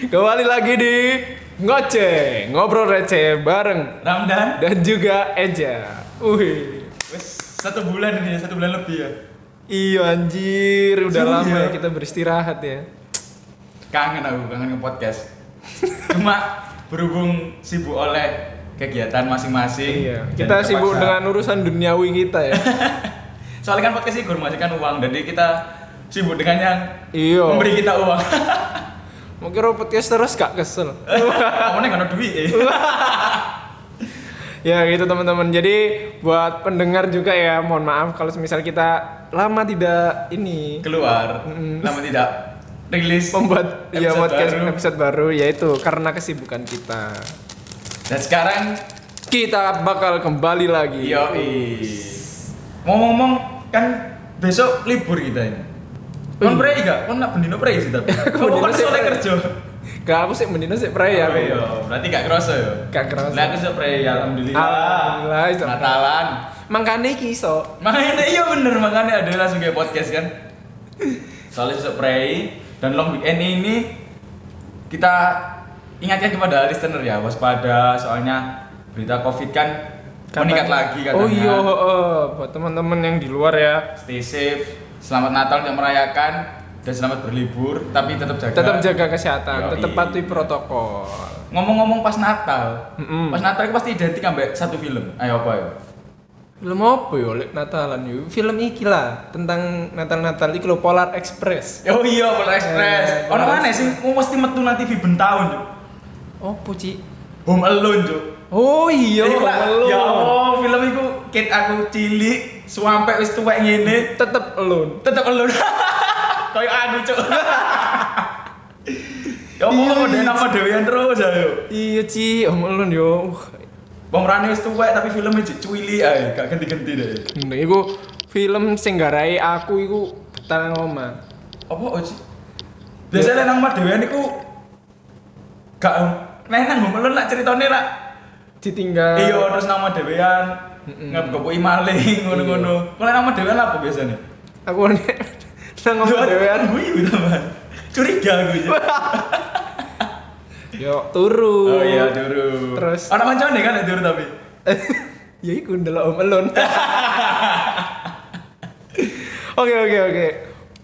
Kembali lagi di Ngoceh, ngobrol receh bareng Ramdan dan juga Eja. Wih. wes satu bulan ini ya, satu bulan lebih ya Iya anjir, udah Iya. lama ya kita beristirahat ya. kangen aku kangen nge podcast cuma berhubung sibuk oleh kegiatan masing-masing Iya, jadi kita sibuk terpaksa. dengan urusan duniawi kita ya. soalnya kan podcast ini menghasilkan uang jadi kita sibuk dengan yang Iya. memberi kita uang Mau kira podcast terus gak kesel. kamu nggak ada duit eh. Ya gitu teman-teman. Jadi buat pendengar juga ya, mohon maaf kalau misal kita lama tidak ini keluar lama tidak rilis membuat ya episode podcast baru. episode baru yaitu karena kesibukan kita. dan sekarang Kita bakal kembali lagi. yoi ngomong-ngomong kan besok libur kita ini Kon prei gak? Kon nak bendino prei sih tapi. Kon bendino kon sih sore prei. kerja. Gak aku sih mendino sih pray ya. Oh, iya. berarti gak kerasa ya? Gak kerasa. Lah aku spray alhamdulillah. Alhamdulillah, iso. Natalan. Mangkane iki iso. Makanya iya bener makanya ada langsung kayak podcast kan. Soalnya spray dan long weekend ini kita ingatkan kepada listener ya waspada soalnya berita covid kan meningkat lagi katanya. Oh iya, heeh. buat teman-teman yang di luar ya. Stay safe. Selamat Natal yang merayakan dan selamat berlibur tapi tetap jaga. Tetap jaga kesehatan, Yoi. tetap patuhi protokol. Ngomong-ngomong pas Natal, Mm-mm. pas Natal itu pasti identik ambek satu film. Ayo apa ya? Film apa ya lek Natalan yo? Film iki lah tentang Natal-Natal iki lho Polar Express. Oh iya, Polar Express. Eh, Ono Polar mana sih? Mau mesti metu nanti TV bentahun, Cuk. Opo, Ci? Home Alone, Cuk. Oh iya, Iku lah, alone. Ya Allah, film itu kit aku cilik, suampe wis tuwek ngene, tetep alone. tetep alone. Kayak anu, Cuk. Ya Allah, Iya, udah iya, nama dewean terus ayo. Iya, Ci, om alone yo. Uh, Pemerannya wis tuwek tapi filmnya cik cuili ae, gak ganti-ganti deh. Nek iku film sing garai aku iku Tanang Roma. Apa oji? Biasanya nang madewean iku gak neng nang Home Alone lah ceritanya lah. Ditinggal. Iya, terus nama dewean ngepukui maling ngono-ngono. Kalau nama dewean apa biasanya? Aku nek nang ngomong dhewean. gue itu teman. Curiga gue. Yo turu. Oh iya, dulu. Terus? Ada mancane kan dulu tapi. ya iku ndelok Om Elon. Oke oke oke.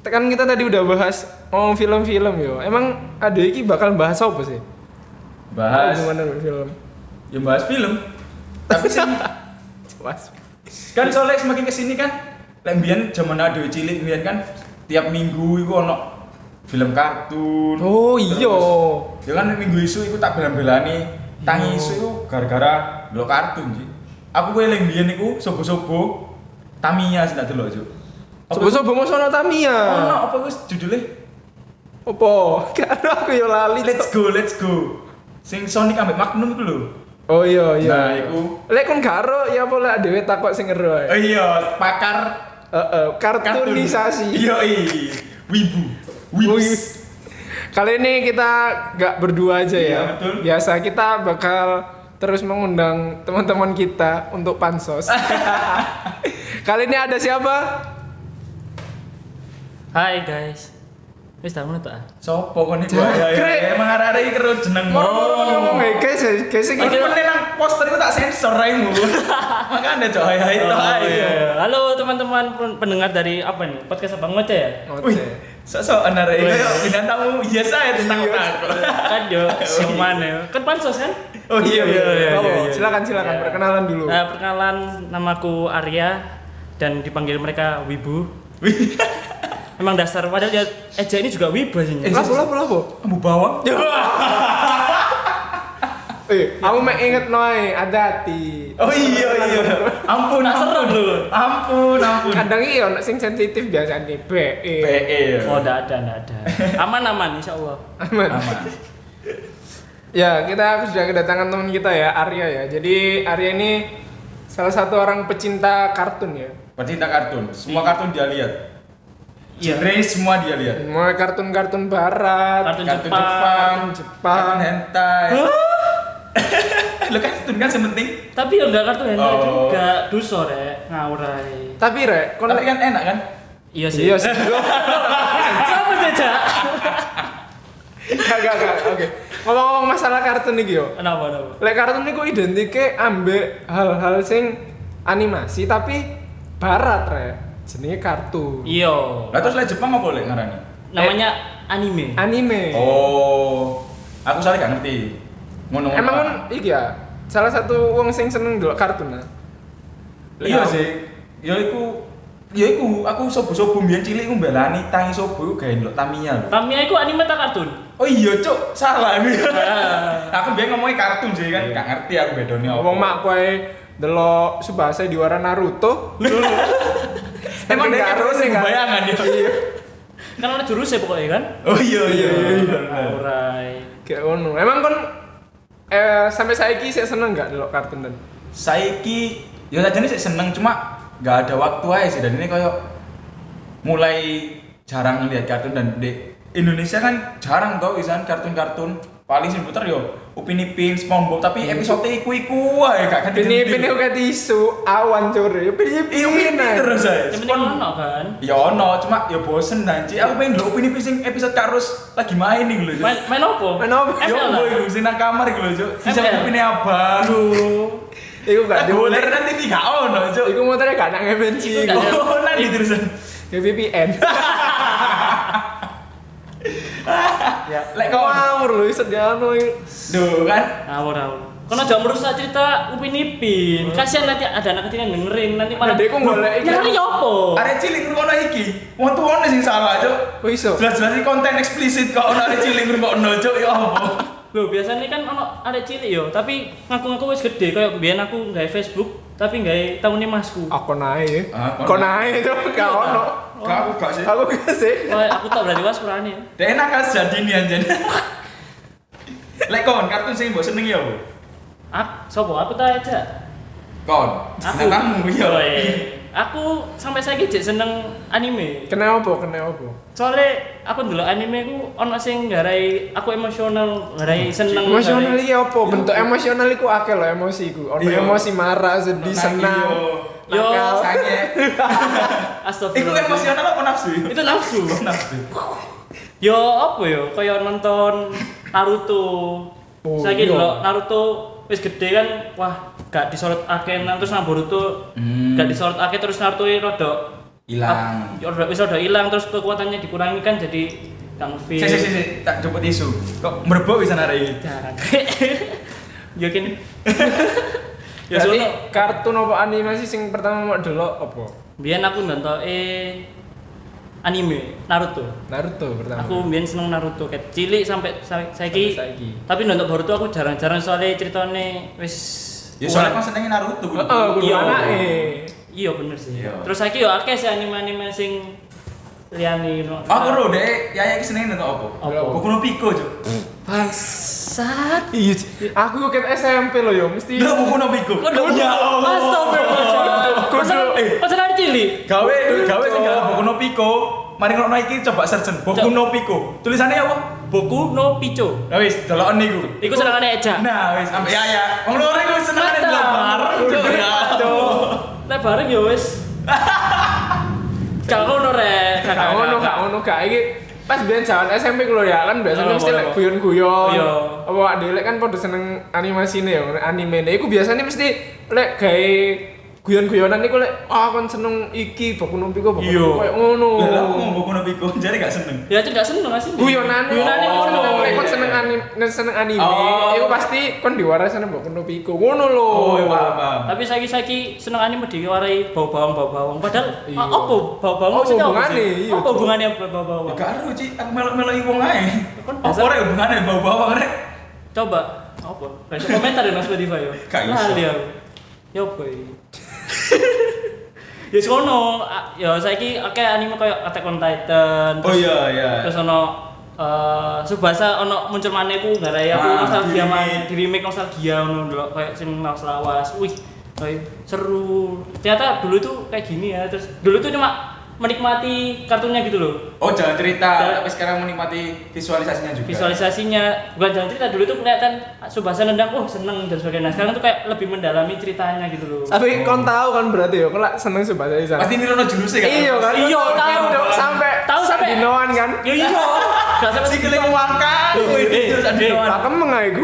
Kan kita tadi udah bahas ngomong film-film yo. Emang ada iki bakal bahas apa sih? Bahas, Hubungan dengan film. ya bahas film. Tapi sih, Mas. kan soalnya semakin kesini kan, lembian zaman ada cilik mbiyen kan tiap minggu itu ono film kartun. Oh iya. Terus, Ya kan minggu isu itu tak belan-belani Iya. Tangi isu itu gara-gara delok kartun sih Aku gue yang biyen iku sobo-sobo Tamiya sih tak delok Cuk. Apa iku? Sobo-sobo mau sono Ono, Tamiya. apa wis judulnya? Opo? Karo aku yo lali. Let's go, let's go. Sing Sonic ambek Magnum iku lho. Oh iya iya. Nah, iku. Lek kon karo ya apa lek dhewe takok sing ngero. ae. Oh iya, pakar Heeh, kartun. kartunisasi. Oh, iya. Iya, iya. Wibu. Wibu. Kali ini kita nggak berdua aja ya. Iya, betul. Biasa kita bakal terus mengundang teman-teman kita untuk pansos. Kali ini ada siapa? Hai guys. Wis tak ah? ngono ta? Sopo kon iki? Ya Krek. ya, emang arek-arek iki karo jenengmu. Ngomong-ngomong ya, guys, ya, guys ya, Iki kita- meneh nang poster iku tak sensor ae mu. Makane cok ae Oh, ae tok ae. iya, Halo teman-teman pen- pendengar dari apa nih? Podcast Abang Ngoceh ya? Oke. Wih, sosok anak ini kayak bintang tamu biasa ya tentang Oh, Iya, otak. Kan yo siuman ya. Kan pansos kan? Oh iya iya iya. Oh, iya, iya. Eh, silakan silakan Iya. perkenalan dulu. Nah, perkenalan namaku Arya dan dipanggil mereka Wibu. Emang dasar padahal dia Eja ini juga Wibu aslinya. Lapo lapo lapo. Kamu bawang? Eh, aku mau inget noy, ada hati. Iya. Oh iya iya. Ampun Nah, serem ampun. lu. Ampun ampun. Kadang iya, nek sing sensitif biasa nih, BE. Eh, PE. Oh, enggak ada, enggak ada. Aman-aman insyaallah. Aman. Aman. Ya, kita sudah kedatangan teman kita ya, Arya ya. Jadi Arya ini salah satu orang pecinta kartun ya. Pecinta kartun. Semua kartun dia lihat. Genre semua dia lihat. Mulai kartun-kartun barat, Kartun Kartun Jepang. Jepang, kartun Jepang. hentai. Lo kan kartun kan sementing. Tapi yo enggak kartu hentai Oh. juga. Duso rek, ngawur ae. Tapi rek, Iya, kon Tapi kan enak kan? Iya sih. Iya sih. Sama saja. Gak, gak, gak. Oke. Ngomong-ngomong masalah kartun nih yo. Kenapa, kenapa? Lek kartun niku identike ambek hal-hal sing animasi tapi barat re. Jenenge kartun. Iya. Lah terus lek Jepang apa lek ngarani? Namanya anime. Anime. Oh. Aku soalnya gak ngerti. Ngono. Emang kan iki ya salah satu wong sing seneng delok kartun nah. Iya sih. Ya iku ya iku aku sobo-sobo mbiyen cilik ku mbelani tangi sobo iku gawe ndelok Tamiya lho. Tamiya itu anime tak kartun? Oh iya, Cuk. Salah. aku mbiyen ngomongnya kartun sih kan gak ngerti aku bedone apa. Wong mak kowe delok Subasa diwara Naruto. Emang Tapi dia nggak terus harus, yang kan? bayangan ya. Iya. Kan ada jurusnya pokoknya kan? Oh iya iya. iya. Alright. Kayak ngono. Emang kon eh sampai saiki sik seneng gak delok kartun dan? Saiki ya sajane sih seneng cuma nggak ada waktu aja sih dan ini kayak mulai jarang ngelihat kartun dan di Indonesia kan jarang tau isan kartun-kartun paling sing puter yo Upin Ipin, SpongeBob tapi episode iku-iku ae gak ganti Pini pini kayak tisu awan curi. Pini pini Iya, terus ae. Yang penting Spon- ono kan? Ya ono, cuma ya bosen nanti. Aku pengen lho Upin Ipin sing episode karus lagi main nih lho. Main, main apa? Main apa? Yo FL lah. boy gue sing nang kamar gitu loh, Cuk. Sing sampe FL. Upin abang. kan Aduh. Iku gak Aku dimuter. boleh nanti tiga ono, Cuk. Iku muternya gak nang Iku MNC. gak- Oh, nanti terusan. Ya VPN. ya, lek lek kon. kau ngawur lho iset ya ono. Duh kan. Ngawur, ngawur. Karena jangan merusak cerita Upin Ipin. Kasihan nanti ada anak kecil yang dengerin, nanti malah Adekku golek iki. Nyari apa? Arek cilik ngono iki. Wong tuane sing salah, Cuk. Oh, iso? Jelas-jelas iki konten eksplisit kok ono arek cilik ngono, Cuk. Ya apa? Loh, biasanya kan ono arek cilik yo, tapi ngaku-ngaku wis gede kayak biyen aku nggawe Facebook, tapi nggawe tahunnya masku. Aku naik. Ah, kon Iya, Kau naik itu gak ono. Gak aku gak sih. Aku gak sih. Wah, aku tak berani was berani. Dek enak kan jadi nih anjen. Lek kon kartun sing mbok senengi ya, Bu. Aku sopo aku tak aja. Kon. Aku. Kamu Oh, ya. iya. Aku sampai saiki jek seneng anime. Kena apa? Kena apa? Soalnya aku dulu anime ku ono sing ngarai aku emosional, ngarai seneng. Emosional iya. ngarai- iki apa? Bentuk emosional iku akeh lho emosi iku. Ono Iya. emosi marah, sedih, Nangis, senang. yo. Yo. nakal. Sange. Iku Astagfirullah. emosional apa nafsu? ya? Itu nafsu. Nafsu. Yo apa yo kaya nonton Naruto. Oh, Saiki iya. dulu Naruto wis gede kan wah gak disorot akeh nang terus nang Boruto Hmm. gak disorot akeh terus Naruto rada Hilang. Ya udah bisa udah hilang terus kekuatannya dikurangi kan jadi Kang Fit. Sik sik sik sik, tak jemput isu. Kok merebok bisa narik iki? Jarang. Ya kene. Ya Berarti sono. kartun apa animasi sing pertama mau delok apa? Biyen aku nontoke anime Naruto. Naruto pertama. Aku biyen seneng Naruto ket cilik sampai sa- saiki. Sampai saiki. Tapi nonton Boruto aku jarang-jarang soalnya ceritane wis Ya soalnya kan kurang. senengin Naruto. Bu. Heeh, eh? kudu Iya. anake. Iya bener sih. Iya. Terus saiki yo akeh sih anime-anime sing liyane no. Oh, Aku ro deh, ya ya senengin nonton apa? Apa? Boku no Pico, Cuk. Bangsat. Iya, aku ket SMP lho yo, mesti Lah Boku no Pico. Ya Kok dulu? Astagfirullahaladzim. Pesan, pesan ada cilik. Gawe gawe sing gawe Boku no Pico. Mari ngono iki coba search Boku no Pico. Tulisannya apa? Boku no Pico. Nah wis, delok niku. Iku senangannya Eja. Nah wis, ampe ya ya. Wong loro iku senengane Mantap. delok bareng, Cuk. Ya. Nah bareng ya wis. Gak ngono rek. gak ngono gak ngono gak iki pas biyen jaman SMP ku lho ya kan biasanya Iya, mesti lek iya. guyon-guyon. Iya. Apa awak dhewe lek kan padha seneng animasine ya, anime. Iku biasanya mesti lek gawe guyon-guyonan iku lek ah kon seneng iki Boku no Pico Boku no Iya. Pico", koyo ngono. Lah lah, aku mau Boku no Pico, jare gak seneng. Ya itu gak seneng asli. Guyonan Guyonan iku iku seneng lek iya, kon iya. seneng anime, seneng anime. Oh. Iku pasti kon diwaras seneng Boku no Pico. Ngono lho. Oh, ya paham, paham. Tapi saiki-saiki seneng anime diwarai bau bawang bau bawang. Padahal Iya. ah, apa bau Apa bawang? maksudnya apa hubungannya? sih? Iya, Apa Cuk. hubungannya bau Ya bawang? gak aru, Ci. Aku melok-melok wong ae. Kan Apa pasar- rek hubungane bau-bau rek? Coba apa? Baca komentar ya Mas Spotify yo. Gak iso. Lali aku. Ya apa iki? Ya sono, a- ya saiki akeh anime koyo Attack on Titan. Oh iya iya. Terus ono eh Subasa ono muncul maneh ku ngarai aku Ah, nostalgia di-remake. maneh, di remake nostalgia ono ndelok koyo sing lawas lawas. Wih, koyo seru. Ternyata dulu tuh kayak gini ya. Terus dulu tuh cuma menikmati kartunya gitu loh. Oh jangan cerita, Jangan- tapi sekarang menikmati visualisasinya juga. visualisasinya bukan jalan cerita dulu tuh kelihatan Subasa nendang oh seneng dan sebagainya Nah, sekarang tuh kayak lebih mendalami ceritanya gitu loh Tapi kon tahu kan berarti yo kon lek seneng Subasa Isan. Pasti ini rono jurusnya kan? Iya kan? Iya, Kon tahu. sampai Tahu sampai- Sardinoan kan? ya iya Tsubasa Si keling makan. Tuh, Wih, eh, terus ada eh, kawan. Pakem mengaiku.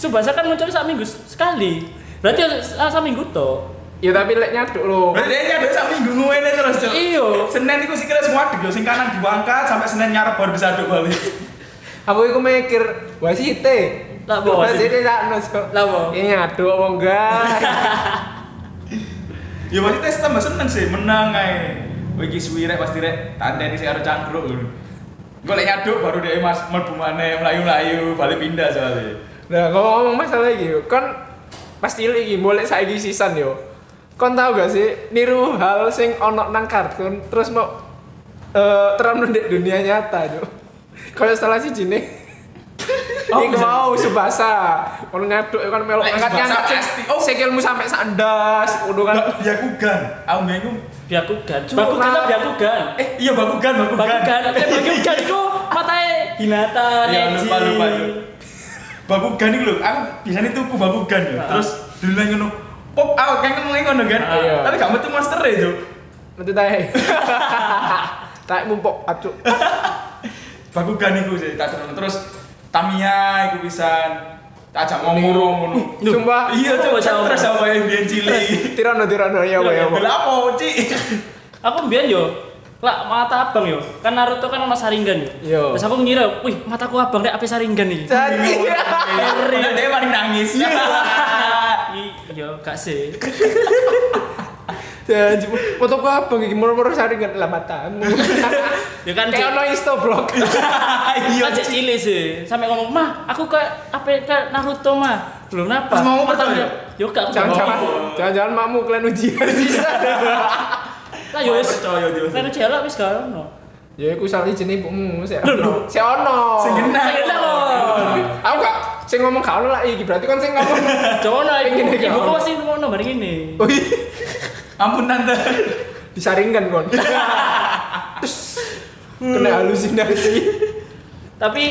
Tsubasa kan muncul sak minggu sekali. Berarti ya sa- sak minggu to. Ya tapi lek nyaduk eh. loh. Berarti ini ada sak minggu ngene terus, Cuk. Iyo. Senin iku sikile semua adeg yo sing kanan diangkat sampai Senin nyarep baru bisa aduk balik. Aku iku mikir, wah sih teh. Lah, apa Wah wasit? sih teh tak nus kok. Lah, apa? Ini nyaduk apa enggak? Ya pasti tes tambah seneng sih, menang ae. Kowe iki suwi rek pasti rek tandeni sing karo cangkruk. Golek nyaduk baru dia mas mlebu maneh melayu-melayu balik pindah soalnya. Nah, kalau ngomong masalah iki, kon pasti iki boleh saiki sisan yo. Kon tahu gak sih niru hal sing ono nang kartun terus mau eh terapno di dunia nyata yo. Kalau salah sih jine Oh, Iku bisa. mau subasa, kalau nyaduk ya kan melok Lek angkat Tsubasa yang pasti. Oh. sekilmu sampai sandas, kudu kan. Lah, ya kugan. Aku minggu. Byakugan. Cuma- Bakugan ta Byakugan. Eh, iya bakugan, bakugan. Bakugan. Eh, Bakugan itu matanya Hinata, Ya, Neji. Iya. lupa, lupa, yuk. Bakugan itu loh, aku biasanya tuku bakugan ya. Ah. Terus dulu lagi ngono pop out kan ngono ngono kan. Ah, iya. Tapi gak metu monster ya, Cuk. Nanti tae. Tae mumpok acuk. Bakugan itu sih tak seneng. terus Tamiya iku pisan. Tak ajak ngomong ngono. Duh. Sumpah. Iya, Cuk. Apa sama- Terus sama yang biyen cilik. Tirano tirano ya apa ya apa. Lah apa, Ci? Aku mbiyen yo lah mata abang yo. Kan Naruto kan sama Sharingan yo. Yo. Iya. Terus aku ngira, wih mataku abang rek ape Sharingan iki. Caci. Ngeri. Nah, Dia paling nangis. Iya. I- Iya, gak sih. Dan foto gua abang iki moro-moro saringan lah matamu. Ya kan, kayak Cik. ono insta blog. Iya. Kan cek cilik sih. Sampai ngomong, "Mah, aku ke apa ke Naruto, mah." Belum apa. Terus mau percaya? ya, Yo gak aku gak Jangan-jangan mau. jangan-jangan makmu kalian ujian bisa. Lah ah, yo wis. Percaya, Cuk. Lah jelek wis gak ono. Ya iku salah izin ibumu sik. Loh, loh. Sik ono. Sing genah. Sing genah, Kon. Aku gak sing ngomong gak ono lah iki berarti kon sing ngomong. Cono ibu, Gini, gini. ibu kok masih mau nomor gini. Wih, Ampun tante. disaringkan kon. Terus kena halusinasi. Tapi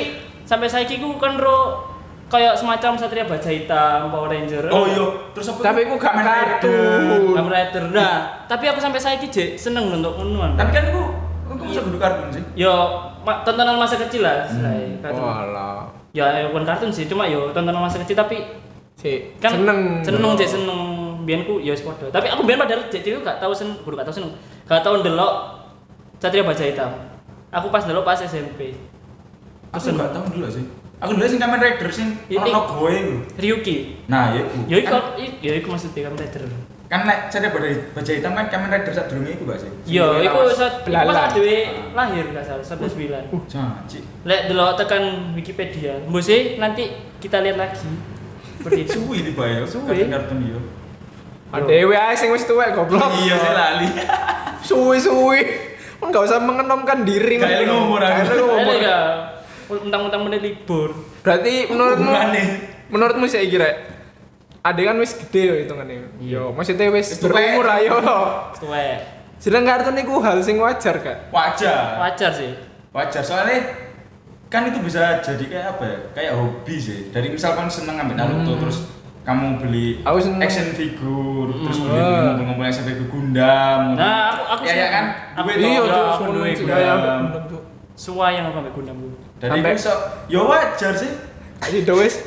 sampai saya kiku kan ro kayak semacam Satria Baja Hitam, Power Ranger. Oh iya, terus apa? Tapi aku gak Kamen Rider. kartun. Kamen Rider. Nah, tapi aku sampai saya jek seneng untuk ngonoan. Tapi kan aku aku bisa duduk kartun sih. Yo, ma- tontonan masa kecil Hmm. lah, istilahnya, kartun. Walah. Ya, ya, bukan kartun sih, cuma yo tontonan masa kecil tapi Sik kan seneng. seneng jek seneng. Biyen ku yo wis padha. Tapi aku biyen padahal jek cilik gak tau seneng, guru gak tau seneng. Gak tau ndelok Satria Baja Hitam. Aku pas ndelok pas SMP. Aku Pesen. gak tahu dulu sih. Aku dulu sing Kamen Rider sing Ini- ono gue lho. Ryuki, Nah, ya iku. Ya iku Kan- i- ya iku maksudnya Kamen Rider. kan nek saya pada baca hitam kan Kamen Rider sadurunge iku gak sih? Ya iku sat saat Belalang. pas dhewe lahir enggak salah Uh. 19. janji. Lek delok tekan Wikipedia, mbok sih nanti kita lihat lagi. Seperti itu. Suwi di bayo, Suwi. kartun kartun yo. Adewe ae sing wis tuwek goblok. Iya, saya lali. suwi-suwi enggak usah mengenomkan diri Gak eling ngomong aku. Gak eling ngomong. Ada enggak? Untang-untang menit libur. berarti menurutmu Hubungannya. menurutmu sih kira ada kan wis gede yo hitungannya Iya. yo maksudnya wis Wis tuwek. berumur ayo Tuwek. sedang kartun itu hal sing wajar kak Wajar. Wajar sih. Wajar soalnya kan itu bisa jadi kayak apa ya? Kayak hobi sih. Dari misal kamu seneng ambil Naruto terus kamu beli Aku seneng. action figure, terus Hmm. beli Wah. ngumpul-ngumpul action figure Gundam. Nah, aku aku ya, ya seneng. kan? Aku Duit iya toh, Cuk, aku seneng duit sih, Gundam. kayak bener, Cuk. Suwa yang aku ambil gundamu. Jadi Sampai- bisa ya wajar sih. jadi dowes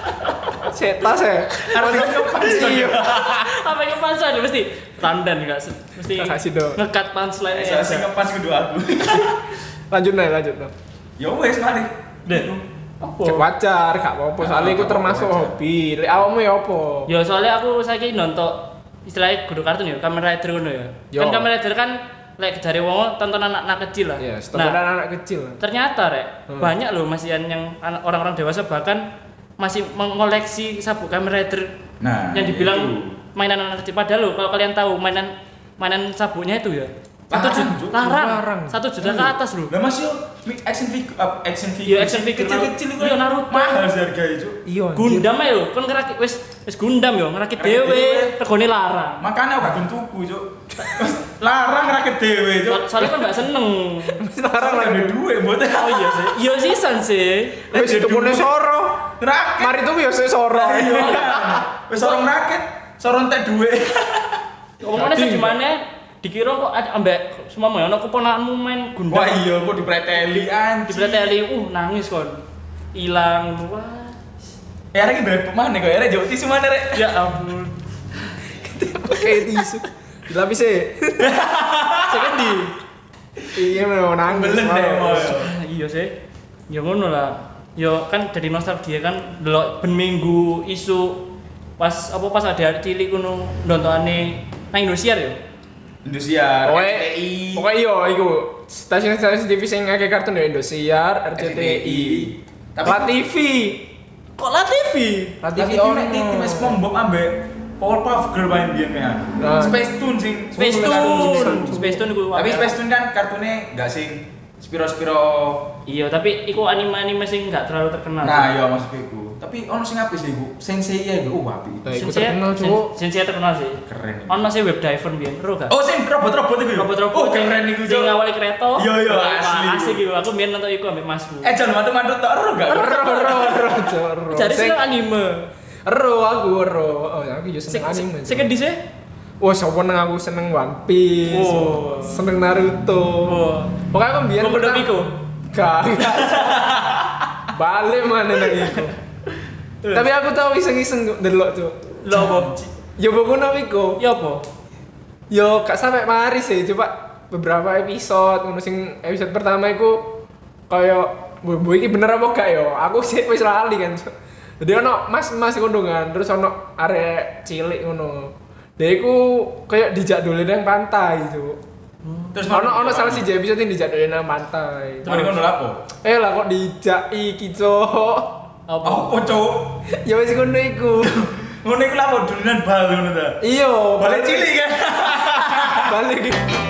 setas ya Harus iya Apa yang pansan ya, mesti tandan enggak se- mesti Kasih dong. ngekat punchline. Saya sih ngepas kedua aku. lanjut nih lanjut nah. Ya wes mari. Deh. Cek Apa? wajar gak apa-apa Gak soalnya itu apa-apa, termasuk wajar. hobi lek awakmu ya apa Ya soalnya aku saiki nonton istilahnya guru kartun ya, Kamen Rider ngono ya. Yo. Kan Kamen Rider kan lek jare wong tontonan anak-anak kecil lah. ya Iya. standar nah, anak kecil ternyata rek Hmm. banyak loh masihan yang anak- orang-orang dewasa bahkan masih mengoleksi sabuk Kamen Rider Nah, yang dibilang itu. mainan anak kecil padahal loh kalau kalian tahu mainan mainan sabuknya itu ya satu Larang, juta Cuk. larang, Larang. satu juta ke atas loh Lah Mas yo mik- action figure up action figure. Iya, action figure kecil-kecil Naruto. Iya, Naruto. Mahal sih harganya itu. iya anjir. Gundam ae lho, kon kan ngerakit wis wis Gundam yo, ngerakit Ngerakit dhewe, dhewe. regane larang. Makanya aku gak gelem tuku, Cuk. Larang rakyat dewe, Cuk. Soalnya kan gak seneng. larang Soalnya lagi ada duwe buat Oh iya sih. Iya sih san sih. wis tukune soro rakyat. Mari tuh biasa soro. Iya. Wis orang rakyat, sorong teh duwe. Omongannya sih gimana? dikira kok ada ambek semua mau ya, ono keponakanmu main Wah gundam. iya, kok dipreteli anjing. Dipreteli uh nangis kon. Hilang wah. Ya arek berapa mana kok? Arek jauh tisu mana rek? Ya ampun. pakai tisu dilapis eh. sih Sekendi. iya mau nangis Belum deh mau. mau. Ah, iya sih. Ya ngono lah. Ya kan dari nostalgia kan delok ben minggu isu pas apa pas ada cilik ngono ndontone nang Indonesia ya. Indosiar, pokoknya RCTI, pokoknya iya iku stasiun-stasiun TV sing ngake kartun ya Indosiar RCTI RCTI. tapi La TV Kok lah TV? La TV Tapi ono. ono tim SpongeBob ambek Powerpuff Girl main biyen kan. Nah. Space Tune sing Space Tune. Space Tune iku. Tapi wajar. Space Tune kan kartune enggak sing spiro-spiro. Iya, tapi iku anime-anime sing enggak terlalu terkenal. Nah, iya maksudku iku. Tapi ono sing apik sih iku. Sensei ya iku uh, apik. Nah, iku Sensei- terkenal, Sen- Cuk. Sensei terkenal sih. Keren. iku. Ono sih web diver biyen, ro gak? Oh, sing robot-robot iku. ya? Ah. Robot-robot Oh, keren iku. sing Cok. ngawali kereta. Iya, iya, Wah, asli. Asik gitu. Aku biyen nonton iku ambek masku. Eh, jangan mantu-mantu tok ero gak? Ero, ero, ero, Cuk, ero. Jadi Sing- sing anime. ero aku ero oh aku yo Sing seneng anime sing endi sih? wah siapa neng aku seneng One Piece Oh. seneng Naruto Oh. pokoknya aku biar Boku no Pico. gak gak. balik mana nang iku tapi aku tau iseng-iseng delok tuh Lho apa? yo Boku no Pico Ya apa? yo gak sampai mari sih coba beberapa episode ngono sing episode pertama iku kaya bu, bu iki bener apa gak yo aku sih wis lali kan jadi ono mas mas kondongan terus ono arek cilik ngono dia iku kayak dijak dulu nang pantai gitu Terus ono ono salah si Jebi yang dijak dulu nang pantai Cuma ngono lapo. eh lah kok dijak iki cok Apa? Apa, Cok? ya wis ngono iku Ngono iku lapo dulunan bal ngono ta. ya? iyo Balik cilik kan. balik